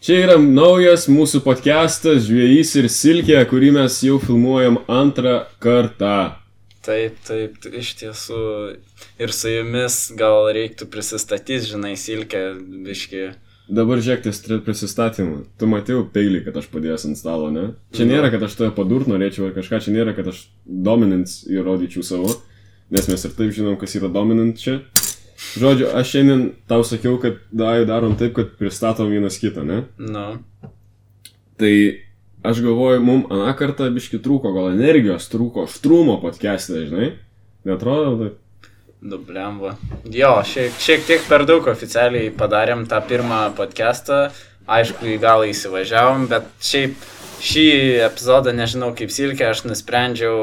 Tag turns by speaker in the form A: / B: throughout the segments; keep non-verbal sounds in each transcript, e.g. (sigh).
A: Čia yra naujas mūsų podcastas Žvėjys ir Silkė, kurį mes jau filmuojam antrą kartą.
B: Taip, taip, t- iš tiesų. Ir su jumis gal reiktų prisistatyti, žinai, silkę, biški.
A: Dabar žiūrėk ties tri- prisistatymu. Tu matėjau peilį, kad aš padėjęs ant stalo, ne? Čia nėra, kad aš tave padurt norėčiau ar kažką, čia nėra, kad aš dominant įrodyčiau savo, nes mes ir taip žinom, kas yra dominant čia. Žodžiu, aš šiandien tau sakiau, kad dai darom taip, kad pristatom vienas kitą, ne?
B: Nu,
A: Tai aš galvoju, mum aną kartą biški trūko, gal energijos trūko, štrumo podcast'e, žinai? Netrodo, taip.
B: dublemba. Jo, šiek, šiek tiek per daug oficialiai padarėm tą pirmą podcastą. Aišku, į galą įsivažiavom, bet šiaip šį epizodą, nežinau kaip silkė, aš nusprendžiau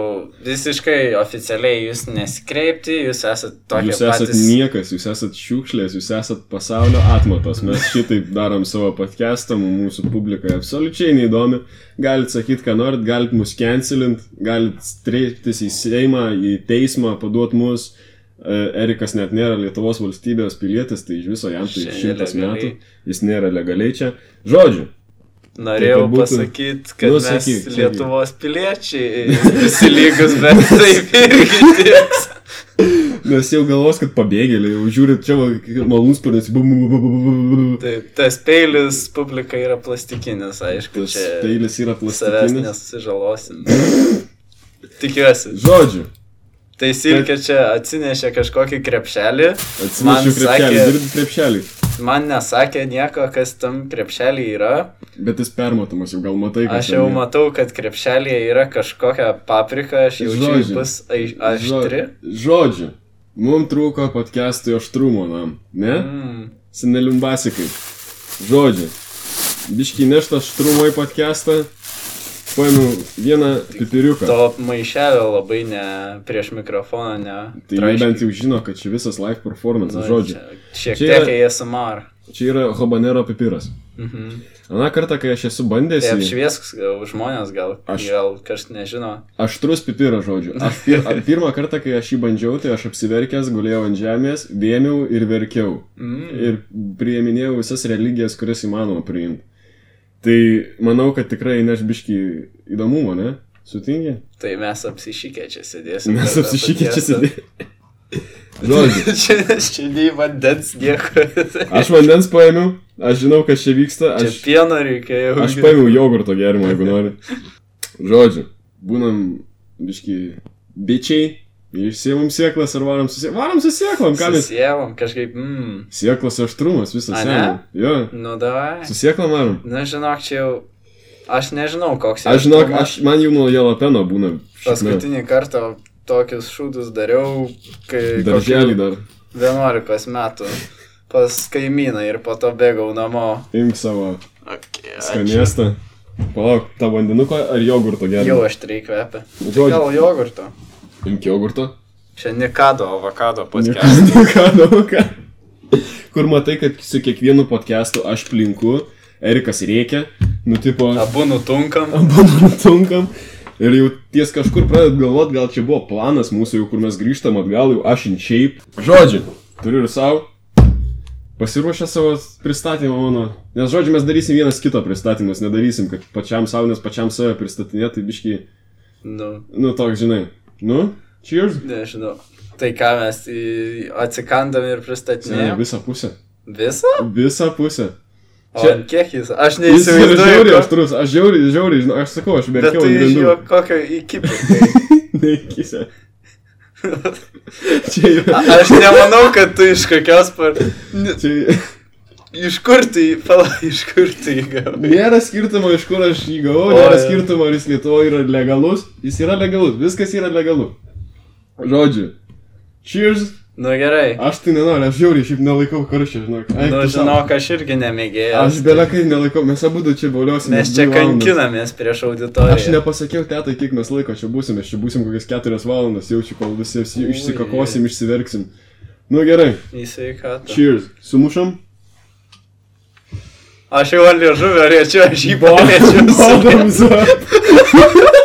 B: visiškai oficialiai jūs nesikreipti, jūs esate
A: tai
B: tokie
A: Jūs esat
B: patys.
A: niekas, jūs esat šiukšlės, jūs esat pasaulio atmatas. Mes šitaip darom savo podcastą, mum mūsų publikai absoliučiai neįdomi. Galit sakyti, ką norit, galit mus cancelint, galit streiptis į Seimą, į teismą, paduot mus. E, Erikas net nėra Lietuvos valstybės pilietis, tai iš viso jam tai
B: Šiandien
A: šimtas metų,
B: legaliai.
A: jis nėra legaliai čia. Žodžiu,
B: Norėjau
A: kad būtų-
B: pasakyti, kad
A: Nu,
B: nu, mes
A: sakyk,
B: sakyk,
A: sakyk.
B: Lietuvos piliečiai visi lygus, bet taip irgi tieks.
A: nes jau galvos, kad pabėgėliai, jau žiūrit čia malūnus pradės.
B: Taip, tas peilis publika yra plastikinis, aišku,
A: Tas
B: čia
A: peilis yra
B: savęs
A: plastikinis.
B: nesusižalosim. Tikiuosi.
A: Žodžiu,
B: Tai Silkė čia atsinešė kažkokį krepšelį,
A: atsiprašau,
B: Man
A: krepšelį,
B: sakė-
A: dirbti krepšelį.
B: man nesakė nieko, kas tam krepšelį yra.
A: Bet jis permatomas, jau gal matai, kad
B: Aš jau matau, kad krepšelėje yra kažkokia paprika, aš jaučiu,
A: Žodžiu.
B: ji bus ai- aštri.
A: Žodžiu, mums trūko podcast'ui aštrumo, nam, ne? Mm.
B: Mm.
A: Seneliumbasikai. Žodžiu, biški nešta aštrumo į podcast'ą, paėmiau vieną pipiriuką.
B: To maišelio labai ne prieš mikrofoną, ne.
A: Tai jie bent jau žino, kad čia visas live performance,
B: Nu,
A: žodžiu.
B: čia Šiek
A: Čia yra-
B: tiek ASMR.
A: Čia yra habanero pipiras.
B: Mhm.
A: Aną kartą, kai aš esu bandęs... jį-
B: Tai apšviesk gal žmonės, gal,
A: Aš-
B: gal kažkas nežino.
A: Aštrus pipiras, žodžiu. Aš
B: (laughs)
A: pir, a- pirmą kartą, kai aš jį bandžiau, tai aš apsiverkęs, guliau ant žemės, vėmiau ir verkiau.
B: Mm.
A: Ir prieiminėjau visas religijas, kurias įmanoma priimti. Tai manau, kad tikrai neš biški įdomumo, ne? Sutingi?
B: Tai mes apsišykę čia sėdėsime.
A: Mes apsišykė čia sėdėti. Žodžiu.
B: (laughs) čia, čia nei vandens nieko.
A: Aš vandens paėmiau, aš žinau, kas čia vyksta,
B: Čia
A: aš,
B: pieno reikėjo.
A: aš paėmiau jogurto gerimą, jeigu nori.
B: (laughs)
A: Žodžiu, būnam biški bičiai, išsiemam sėklas ar varom susieklam. Varom susieklam, Nu, ką mes
B: Susievom kažkaip. Mm.
A: Sieklas aštrumas visas.
B: A,
A: seni. Jo,
B: Nu, davai.
A: susieklą marom.
B: Na, žinok, čia jau. Aš nežinau, koks
A: Aš žinok,
B: jautrumas.
A: aš, man jau nuo jalapeno būna. šikna.
B: Paskutinį kartą tokius šūdus dariau, kai...
A: nu, Darželį dar.
B: 11 metų pas kaimyną ir po to bėgau namo.
A: Imk savo
B: Okay,
A: skanėstą. Palauk, tą vandenuką ar jogurto
B: Jau
A: gerai?
B: aštriai kvepia.
A: Nu,
B: Tai
A: žodžiu.
B: gal jogurto.
A: Imk jogurto.
B: Čia Nikado avokado
A: (laughs)
B: podcastas.
A: Nu ką, nu ką. Kur matai, kad su kiekvienu podcastu aš plinku, Erikas nu, reikia, nutipo,
B: Abu nutunkam.
A: nutunkam. Ir jau ties kažkur pradedat galvot, gal čia buvo planas mūsų, jau kur mes grįžtam atgal, jau aš in shape. Žodžiu, turiu ir savo. Pasiruošę savo pristatymą mano. Nes žodžiu, mes darysim vienas kito pristatymus, nedarysim, kad pačiam savo, nes pačiam save pristatinėti, biški,
B: Nu,
A: nu toks, žinai. Nu, cheers.
B: nežinau. Tai ką mes į- atsikandam ir
A: Ne,
B: pristatinėjom.
A: visą pusę.
B: Visą?
A: Visą pusę.
B: O
A: Čia-
B: ant kiek jis? Aš
A: Jis yra žiauriai
B: neįsivaizduoju. ko-
A: aštrus, aš žiauriai, žiauriai, žinau, aš sakau, aš
B: Bet
A: verkiau
B: tu
A: ant
B: iš
A: (laughs)
B: jo
A: grindų.
B: kokio įkipai.
A: Neįkysia. Čia yra.
B: (laughs) Aš nemanau, kad tu iš kokios par... N-
A: Čia...
B: Iš kur tai, pala, (laughs) iš kur tai gavai?
A: Nėra skirtumo, iš kur aš jį gavau,
B: O,
A: nėra
B: jo.
A: skirtumo, ar jis Lietuvoje yra legalus. Jis yra legalus, viskas yra legalu. Žodžiu. Cheers.
B: Nu gerai.
A: Aš tai nenoriu, aš žiauriai šiaip nelaikau karščio, žinok. Ai,
B: Na,
A: tu sau.
B: Nu, žinok, aš irgi nemėgėjau.
A: Aš belekai nelaikau, mes abu du čia boliuosim.
B: Mes čia kankinamės prieš auditoriją.
A: Aš nepasakiau tetai, kiek mes laiko čia būsim, mes čia būsim kokias keturias valandas, jaučiu, kol visi
B: Ui.
A: išsikakosim, išsiverksim. Nu gerai,
B: ne. Įsveikatą.
A: cheers. Sumušam.
B: Aš jau ant liežuvio riečiu, aš jį (laughs) paliečiu.
A: (laughs) Bottoms up.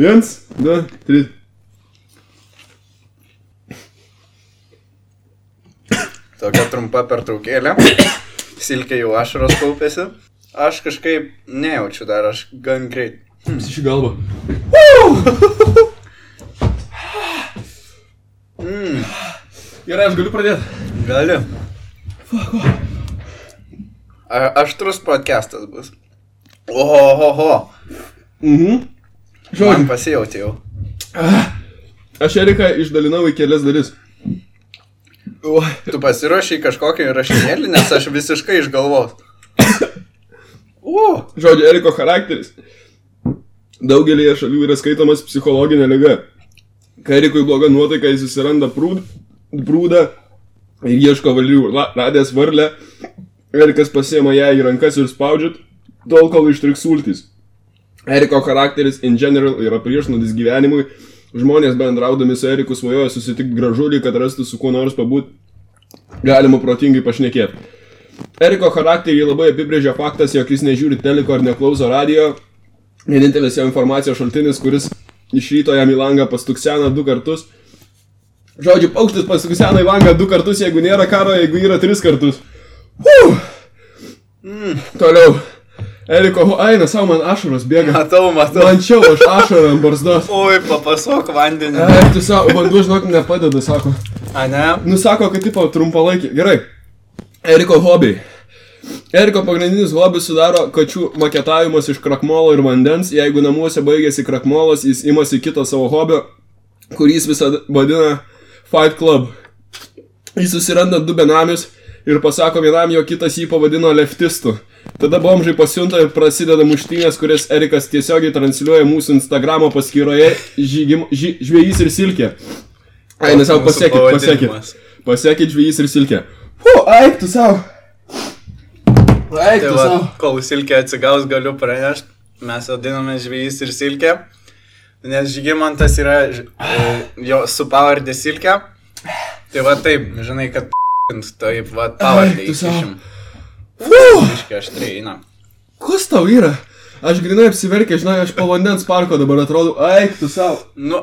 A: Viens, du, trys.
B: Tokia trumpa pertraukėlė. silkė jau ašaros kaupėsi. Aš kažkaip nejaučiu dar, aš gan greit.
A: Iš galvo. Hmm. Gerai, aš galiu pradėti.
B: Galiu. A- Aštrus podcastas bus. Ohoho,
A: Mhm.
B: man
A: Žodžiu,
B: pasijauti jau.
A: Ah. aš Eriką išdalinau į kelias dalis. Oi.
B: Tu pasiruošiai kažkokį rašinėlį, nes aš visiškai iš galvos. O,
A: Žodžiu, Eriko charakteris daugelėje šalių yra skaitomas psichologinė lyga. Kai Erikui bloga nuotaika, jis susiranda prūd, prūdą ir ieško valių. La- Radęs varlę, Erikas pasiema ją į rankas ir spaudžiat, tol kol ištriks sultys. Eriko charakteris in general yra priešnodis gyvenimui. Žmonės bendraudami su Eriku svajoja susitikti gražulį, kad rastų su kuo nors pabūt. Galima protingai pašnekėti. Eriko charakterį labai apibrėžia faktas, jog jis nežiūri teliko ar neklauso radio. Vienintelis jo informacijos šaltinis, kuris iš ryto jam į langą pastuksena du kartus. Žodžiu, paukštis pastuksena į langą du kartus, jeigu nėra karo, jeigu yra tris kartus. Uh! Toliau. Eriko, aina, savo man ašaros
B: (laughs)
A: bėga.
B: matau, matau.
A: Lančiau aš ašarą ant barzdos.
B: Oi, papasok vandenį.
A: Ai, tu savo, vanduo žinok nepadeda, sako.
B: A ne?
A: Nusako, kad tipo trumpalaikį. Gerai. Eriko hobiai. Eriko pagrindinis hobis sudaro kačių maketavimas iš krakmolo ir vandens. Jeigu namuose baigėsi krakmolas, jis imasi kito savo hobio, kurį jis visada vadina Fight Club. Jis susiranda du benamius ir pasako vienam, jo kitas jį pavadino leftistu. Tada bomžai pasiunta ir prasideda muštynės, kurias Erikas tiesiogiai transliuoja mūsų Instagramo paskyroje žygim, ži, Žvėjys ir Silkė. Ai, nes savo
B: Koks mūsų
A: pasiekit, pasiekit.
B: pavadinimas?
A: Pasiekit žvėjys ir silkė. Hu, eik tu savo. Eik
B: Tai
A: tu
B: va,
A: savo.
B: kol silkė atsigaus, galiu pranešti, mes vadiname žvėjys ir silkė, nes žygimantas yra ž- e, jo su pavardė silkė. Tai va taip, žinai, kad (laughs) p***int, taip, va pavardė
A: Ai, tu sau.
B: įsišim.
A: Fu,
B: Iškai aš tai eina.
A: kas tau yra? Aš grinai apsiverkęs, žinai, aš po vandens parko dabar atrodo. Eik tu savo.
B: Nu,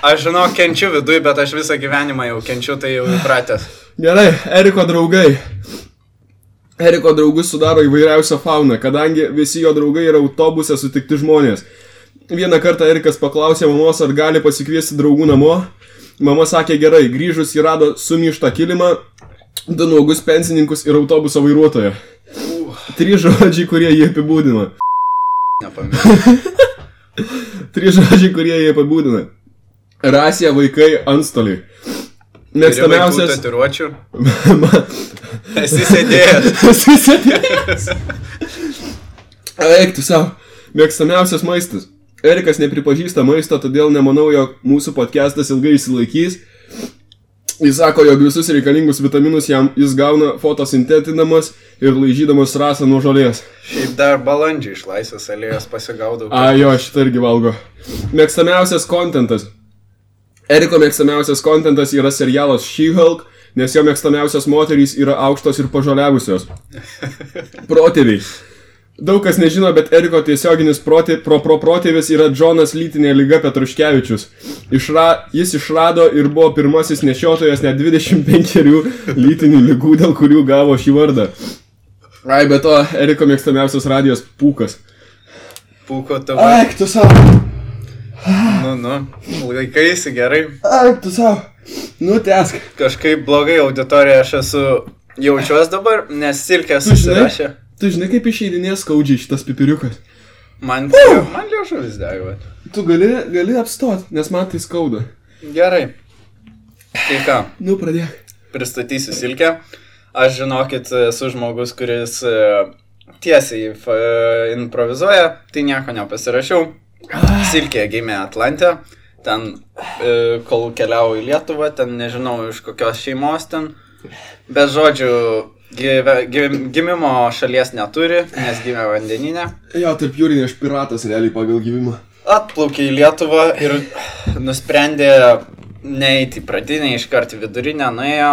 B: aš žinau, kenčiu viduje, bet aš visą gyvenimą jau kenčiu, tai jau įpratęs.
A: Gerai, Eriko draugai. Eriko draugus sudaro įvairiausią fauną, kadangi visi jo draugai yra autobuse sutikti žmonės. Vieną kartą Erikas paklausė mamos, ar gali pasikviesti draugų namo. Mama sakė gerai, grįžus jį rado sumištą kilimą, du nuogus pensininkus ir autobuso vairuotoją. Trys žodžiai, kurie jį apibūdina.
B: Nepamiršau.
A: Trys žodžiai, kurie jį apibūdina. Rasė, vaikai, antstoliai. Mėgstamiausias.
B: Tatiruočių.
A: (laughs) Man-
B: Esi sėdėjęs.
A: Susidėjęs. (laughs) Eik tu savo. Mėgstamiausias maistas. Erikas nepripažįsta maisto, todėl nemanau, jog mūsų podcastas ilgai išsilaikys. Jis sako, jog visus reikalingus vitaminus jam jis gauna fotosintetinamas ir laižydamas rasą nuo žolės.
B: Šiaip dar balandžiai iš laisvės alėjos pasigaudau.
A: A, jo, šitą irgi valgo. Mėgstamiausias kontentas. Eriko mėgstamiausias kontentas yra serialas She-Hulk, nes jo mėgstamiausias moterys yra aukštos ir pažaliavusios. Protėviai. Daug kas nežino, bet Eriko tiesioginis protė, pro, pro protėvis yra Džonas Lytinė lyga Petruškevičius. Išra, jis išrado ir buvo pirmasis nešiotojas net 25 lytinių lygų, dėl kurių gavo šį vardą. Ai, be to, Eriko mėgstamiausias radijos pūkas.
B: Pūko tavo.
A: tu savo.
B: Nu, nu. Laikaisi gerai.
A: Ai, tu savo. Nu, tęsk.
B: Kažkaip blogai auditorija aš esu jaučiuos dabar, nes silkė
A: Tu žinai?
B: susirašė.
A: Tu žinai, kaip išeidinė skaudžiai šitas pipiriukas.
B: Man, man liužuvis dega.
A: Tu gali, gali apstot, nes man tai skauda.
B: Gerai. Tai ką,
A: Nu, pradėk.
B: pristatysiu silkę. Aš žinokit, esu žmogus, kuris e, tiesiai f- e, improvizuoja, tai nieko nepasirašiau. Silkė gimė Atlantė, ten e, kol keliau į Lietuvą, ten nežinau iš kokios šeimos ten. Bet žodžiu, gyve, gim, gimimo šalies neturi, nes gimė vandeninė.
A: Jo, tarp jūrinė aš piratas realiai pagal gyvimą.
B: atplaukė į Lietuvą ir nusprendė neiti į pradinę, iškart į vidurinę, nuėjo,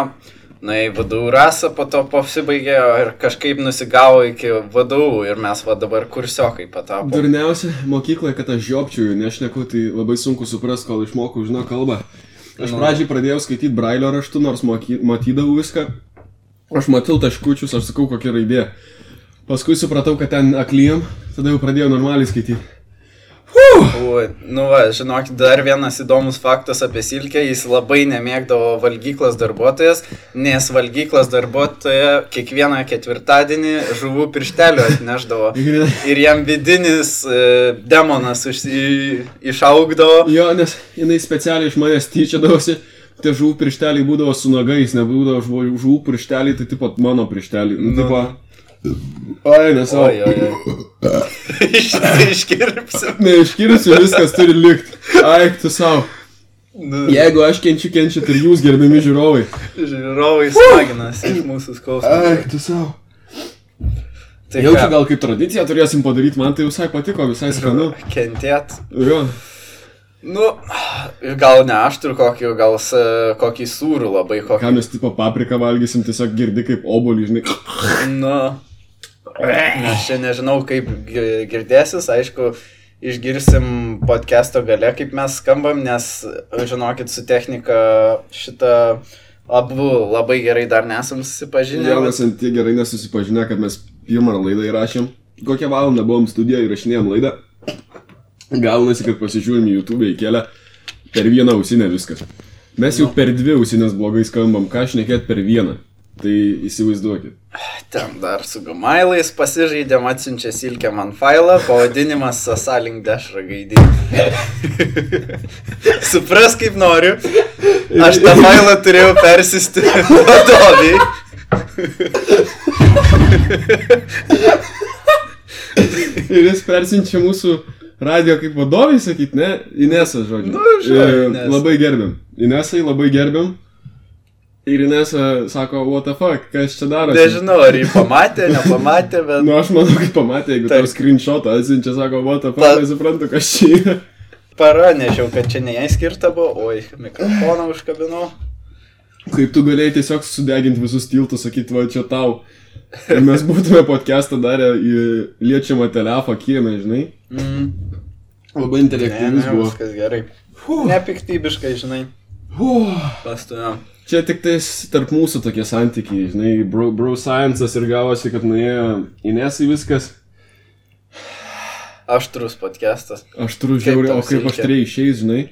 B: nuėjo į VDU rasą, po to pasibaigė ir kažkaip nusigavo iki VDU ir mes va dabar kursiokai patapome.
A: Durniausia mokykloje, kad aš žiopčiuju, nešneku, tai labai sunku supras, kol išmokau, žinau kalbą. Aš
B: Nu.
A: pradžiai pradėjau skaityti brailio raštu, nors moky, matydavau viską. Aš matau taškučius, aš sakau, kokia raidė. Paskui supratau, kad ten aklyjam, tada jau pradėjau normaliai skaityti.
B: Ui, Nu, va, žinokit, dar vienas įdomus faktas apie Silkę, jis labai nemėgdavo valgyklos darbuotojas, nes valgyklos darbuotoja kiekvieną ketvirtadienį žuvų pirštelių atneždavo. Ir jam vidinis e, demonas užsi, išaugdavo.
A: Jo, nes jinai specialiai iš manęs tyčiadavosi. Tie žuvų piršteliai būdavo su nagais, nebūdavo žvo- žuvų piršteliai, tai taip pat mano piršteliai. Nu,
B: Nu.
A: tipo... Oi, nes savo.
B: Oi, oi, oi. (coughs) Iš, iškirpsiu.
A: Neiškirsiu, viskas turi likti. Aik, tu savo.
B: Nu,
A: Jeigu aš kenčiu, kenčiat ir jūs, gerbiami žiūrovai.
B: Žiūrovai smaginasi iš mūsų skausmų.
A: Aik, tu savo.
B: Tai
A: Jau čia
B: ką,
A: gal kaip tradiciją turėsim padaryti, man tai visai patiko, visai skanu.
B: nu, Kentėt.
A: Jo.
B: Nu, gal ne aštrų kokį, gal s, kokį sūrų labai kokį.
A: Ką mes tipo papriką valgysim, tiesiog girdi kaip obolį, žinai.
B: Nu, aš čia nežinau, kaip gi- girdėsis, aišku, išgirsim podcast'o gale, kaip mes skambam, nes, žinokit, su technika šitą abu labai gerai dar nesam susipažinę.
A: Vienas ant tie gerai nesusipažinę, kad mes pirmą laidą įrašėm. Kokią valandą buvom studijoje įrašinėjom laidą. Gaunasi, kad pasižiūrim į YouTube įkelę per vieną ausinę viskas. Mes jau per dvi ausinės blogai skambam, ką aš nekėt per vieną. Tai įsivaizduokit. (laughs)
B: Ten dar su gumailais pasižaidėm, atsiunčia silkę man failą, pavadinimas Sasalink Dešra
A: (laughs)
B: gaidį. Supras kaip noriu. Aš
A: (laughs)
B: tą failą turėjau persisti vadoviai.
A: Ir jis persinčia mūsų radio kaip vadovai, sakyt, ne? Inesas, žodžiu.
B: Nu, žinai, Inesa.
A: labai gerbiam. Inesai labai gerbiam. Ir Inesa sako, what the fuck, kas čia daro?
B: Nežinau, ar jį pamatė, nepamatė, bet...
A: Nu, aš manau, kad pamatė, jeigu tau
B: Taip.
A: screenshotą atsiunčia, sako, what the
B: Ta-
A: fuck, nesuprantu, kas čia yra.
B: Paranešiau, kad čia ne jai skirta buvo, oi, mikrofoną užkabinau.
A: Kaip tu galėjai tiesiog sudeginti visus tiltus, sakyti, va čia tau. Ir mes būtume podcastą darę į liečiamą telefą kiemę, žinai.
B: Mm.
A: Labai
B: Ne,
A: intelektyvus
B: ne,
A: buvo.
B: viskas gerai.
A: Fuh.
B: Nepiktybiškai, žinai,
A: Fuh.
B: pastumėm.
A: Čia tik tais tarp mūsų tokie santykiai, žinai, bro, bro sciences ir gavosi, kad nuėjo Inesai viskas.
B: Aštrus podcastas.
A: Aš turiu
B: Kaip
A: žiauriai, o
B: tau
A: kaip
B: suveikia?
A: aš turėjau išėjęs, žinai.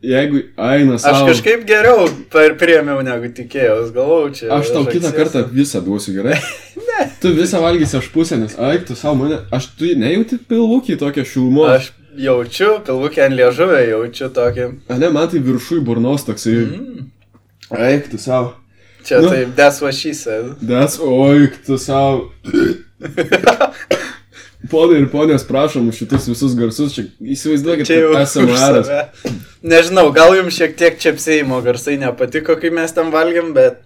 A: Jeigu Ainas...
B: Aš kažkaip geriau per priemiau negu tikėjau, galvau čia.
A: Aš tau kitą
B: žagsėsiu.
A: kartą visą duosiu gerai.
B: (laughs)
A: ne. Tu visą valgysi aš pusę, nes aik, tu savo mane. Aš tu nejauti pilvukį tokio šilmo.
B: Aš jaučiu, pilvukė ant liežuvė, jaučiu tokį.
A: A, ne, man tai viršui burnos toksai.
B: Mm.
A: Aik, tu savo.
B: Čia
A: Nu.
B: nu. taip desvašysi.
A: Des, oik, tu savo. Ponai ir ponės, prašom už šitus visus garsus. Čia įsivaizduokit,
B: Čia jau už
A: SMR. -as.
B: save. Nežinau, gal jums šiek tiek čepsėjimo garsai nepatiko, kai mes ten valgėm, bet...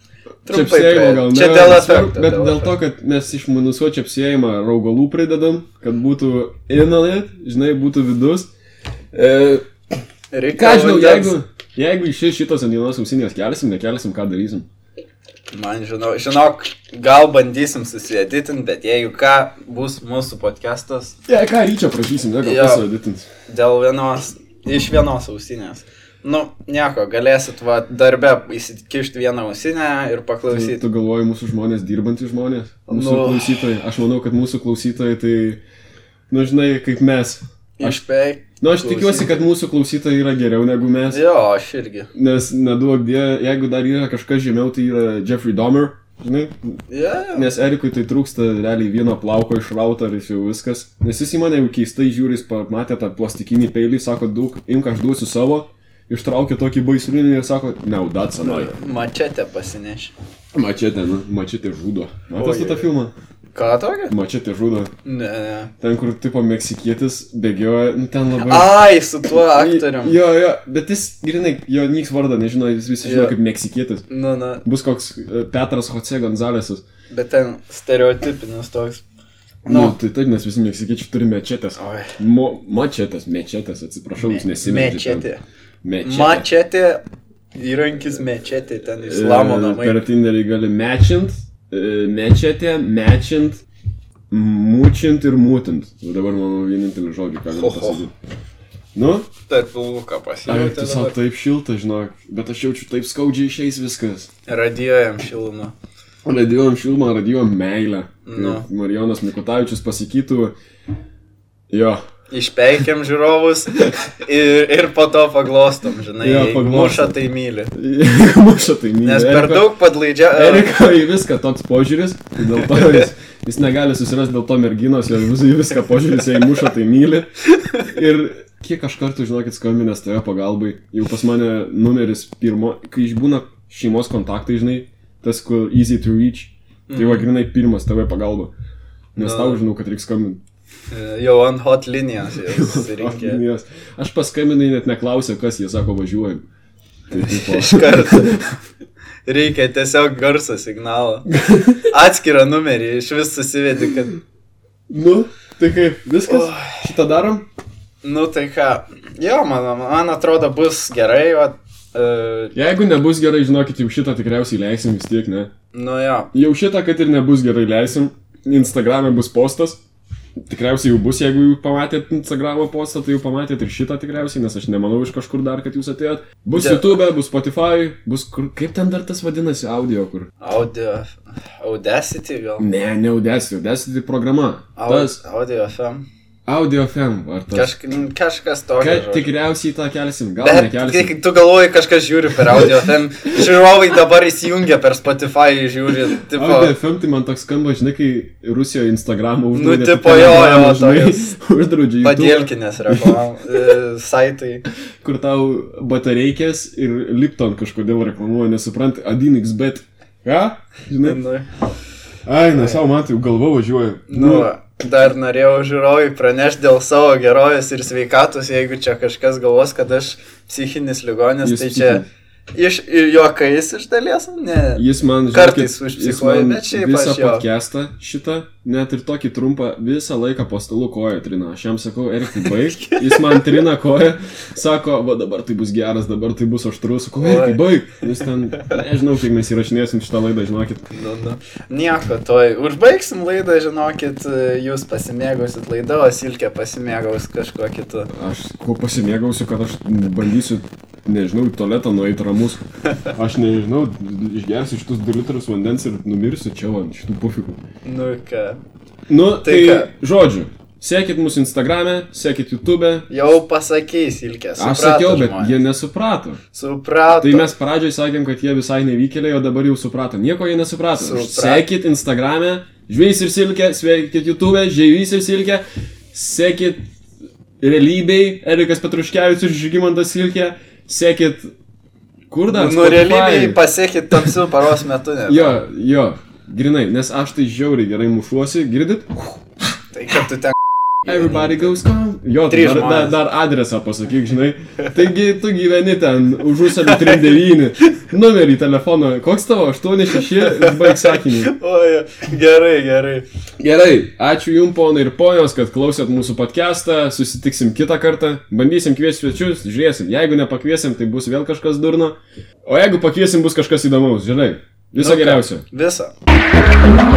A: Čia
B: Trumpai,
A: apsėjimo
B: bet-
A: gal ne.
B: čia dėl
A: svarbu,
B: efekto.
A: Bet dėl to, kad mes iš minusuo čia apsėjimą raugalų pridedam, kad būtų inalit, žinai, būtų vidus. E,
B: kad... Reikia
A: Ką aš žinau, jeigu, jeigu iš šitos ant vienos ausinės kelsim, nekelsim, ką darysim.
B: Man žinau, žinok, gal bandysim susijeditinti, bet jeigu ką, bus mūsų podcastas
A: Ja, ką ryčio prašysim, ne,
B: Jo.
A: gal pasiroditins.
B: Dėl vienos, iš vienos ausinės. Nu, nieko, galėsit va darbę įsikišti vieną ausinę ir
A: Tu,
B: paklausyti.
A: tu galvoji mūsų žmonės, dirbantys žmonės, mūsų
B: Nu.
A: nu. klausytojai. Aš manau, kad mūsų klausytojai tai, nu žinai, kaip mes.
B: Aš peik.
A: Nu, aš tikiuosi, kad mūsų klausytojai yra geriau negu mes.
B: Jo, aš irgi.
A: Nes neduok dieve, jeigu dar yra kažkas žemiau, tai yra Jeffrey Dahmer, žinai.
B: Yeah.
A: Nes Erikui tai trūksta realiai vieno plauko išrauta ir jis jau viskas. Nes jis į mane jau keistai žiūri, jis pamatė tą plastikinį peilį, sako, daug, imk aš duosiu savo, ištraukė tokį baisrinį ir sako, neudat senai.
B: Mačete pasineši.
A: Mačetė, nu, mačetė žudo.
B: Oi,
A: Matai
B: oi,
A: tą
B: oi.
A: filmą?
B: Ką tokia?
A: Mačetė žudo.
B: Ne, ne.
A: Ten, kur tipo meksikietis bėgioja, nu, ten labai...
B: Ai, su tuo aktorium.
A: Jo, jo, bet jis, grinai, jo niks vardą nežino, jis visi žino
B: Jo.
A: kaip meksikietis.
B: Nu, na,
A: Bus koks e, Petras Hoce Gonzalesas.
B: bet ten stereotipinis toks.
A: Nu,
B: Nu.
A: tai taip, mes visi meksikiečiai turime mečetės.
B: Oi.
A: Mo, mačetas, mečetas, atsiprašau, jūs
B: Mečetė.
A: nesimečiate. Mečetė.
B: Mačetė. Įrankis mečetė ten islamo
A: E,
B: namai.
A: Per Tinderį gali mečint, e, mečetė, mečint, mūčint ir mūtint. Va Dabar mano vienintelį žodį, ką galiu
B: Ho, ho.
A: pasakyti. Nu, e,
B: Taip, vilka
A: ar tu savo
B: pasijautė.
A: taip šilta, žinok, bet aš jaučiu taip skaudžiai išeis viskas.
B: Radijuojam šilumą.
A: Radijom šilmą, radijom meilę.
B: Nu.
A: Kaip Marijonas Mikutavičius pasakytų, jo, (laughs)
B: Išpeikiam žiūrovus ir, ir po to paglostom, žinai.
A: Jo,
B: Ja,
A: paglostom.
B: Muša tai myli.
A: muša tai myli.
B: Nes per
A: Eriko-
B: daug padlaidžia. e,
A: Eriko į viską toks požiūris, tai dėl to jis, jis negali susirasti dėl to merginos, jos vis į viską požiūris, jei muša tai myli. Ir kiek aš kartų, žinokit, skambinęs toje pagalbai, jau pas mane numeris pirmo, kai išbūna šeimos kontaktai, žinai, tas, kur easy to reach, tai va, grinai pirmas tave pagalba. Nes
B: Na.
A: tau žinau, kad reiks skambinti.
B: Jau ant hot linijos
A: (laughs)
B: jau susirinkė.
A: Yes. Aš paskambinai net neklausiau, kas jie sako važiuojam. Tai
B: Iš
A: tipo,
B: karto. Reikia tiesiog garso signalo. Atskirą numerį, iš vis susivedi, kad...
A: nu, tai kaip, viskas, šitą darom?
B: Nu tai ką, jo, man, man atrodo bus gerai, o... Uh,
A: Jeigu nebus gerai, žinokit, jau šitą tikriausiai leisim vis tiek, ne?
B: nu jo,
A: Jau šitą, kad ir nebus gerai, leisim. Instagram'e bus postas. Tikriausiai jau bus, jeigu jau pamatėt Instagram'o postą, tai jau pamatėt ir šitą tikriausiai, nes aš nemanau iš kažkur dar, kad jūs atėjot. Bus
B: Ne.
A: YouTube, bus Spotify, bus kur... Kaip ten dar tas vadinasi, audio kur?
B: audio... Audacity gal?
A: Ne, ne Audacity, Audacity programa.
B: Au,
A: Aud... Tas
B: audio FM.
A: Audio FM, ar tas? tai
B: Kažk, kažkas tokio.
A: Kad
B: žodžiu.
A: tikriausiai tą kelsim, gal
B: Bet
A: nekelsim.
B: kai tu galvoji, kažkas žiūri per audio, ten žiūrovai dabar įsijungia per Spotify, žiūri, tipo,
A: O, DFM tai man toks skamba, žinai, kai Rusijoje Instagramą uždraudė.
B: Nu,
A: tai
B: tipo, jo,
A: Telegramą,
B: jo,
A: žinai,
B: tokios
A: (laughs) Uždraudžia YouTube,
B: padėlkinės reklamų e, saitai.
A: kur tau batareikės ir Lipton kažkodėl reklamuoja, nesuprant, Adinix, bet... Ką? Žinai,
B: Nu, tai-
A: ai, na, savo matai, galva važiuoja.
B: nu, dar norėjau žiūrovai pranešti dėl savo gerovės ir sveikatos, jeigu čia kažkas galvos, kad aš psichinis ligonis,
A: Jūs
B: tai čia iš ir juokais iš dalies, ne.
A: Jis man
B: Kartais
A: žinokit,
B: užpsichuoja,
A: jis man
B: bet šiaip
A: visą
B: aš jo.
A: podcastą šitą, net ir tokį trumpą, visą laiką po stalu koją trina. Aš jam sakau, Erikai, baig.
B: (laughs)
A: Jis man trina koją, sako, va dabar tai bus geras, dabar tai bus aštrus. Sakau, Erikai,
B: Oi.
A: baig. Jis ten, nežinau, kiek mes įrašinėsim šitą laidą, žinokit.
B: Nu, nu. Nieko, toj užbaigsim laidą, žinokit, jūs pasimėgausit laidą, o Silkė pasimėgaus kažkuo kitu.
A: Aš kuo pasimėgausiu, kad aš bandysiu, nežinau, į tualetą nueiti ramus. Aš nežinau, išgersiu šitus 2 litrus vandens ir numirsiu čia ant šitų pufikų.
B: Nu ką.
A: Nu,
B: Tai
A: tai,
B: ką?
A: tai žodžiu. Sekit mūsų Instagram'e, sekit YouTube'e,
B: Jau pasakys Ilkės.
A: Aš sakiau, bet žmonės. jie nesuprato.
B: Suprato.
A: Tai mes pradžioj sakėm, kad jie visai nevykėliai, o dabar jau suprato. Nieko jie nesuprato.
B: Suprato.
A: Sekit Instagram'e, žvėjys ir silkė, sveikit YouTube, žvėjys ir silkė, sekit realybei, Erikas Petruškevičius ir Žygimantas silkė, sekit kur dar?
B: Nu,
A: Spotify.
B: realybėje pasiekit tamsių paros metu, ne?
A: Jo, jo, grinai, nes aš tai žiauriai gerai mušuosi, girdit?
B: Tai kad tu ten... (laughs)
A: Everybody goes calm. Jo, tai
B: Trys
A: dar, dar,
B: žmonės.
A: dar adresą pasakyk, žinai. Taigi tu gyveni ten už užsienio 39. Numerį telefono. Koks tavo 86? Baig sakinį.
B: Oi, gerai, gerai.
A: Gerai, ačiū jum ponai ir ponios, kad klausėt mūsų podcastą. Susitiksim kitą kartą. Bandysim kviesti svečius, žiūrėsim. Jeigu nepakviesim, tai bus vėl kažkas durno. O jeigu pakviesim, bus kažkas įdomaus, žinai. Viso
B: Nu, ką,
A: geriausio.
B: Visa.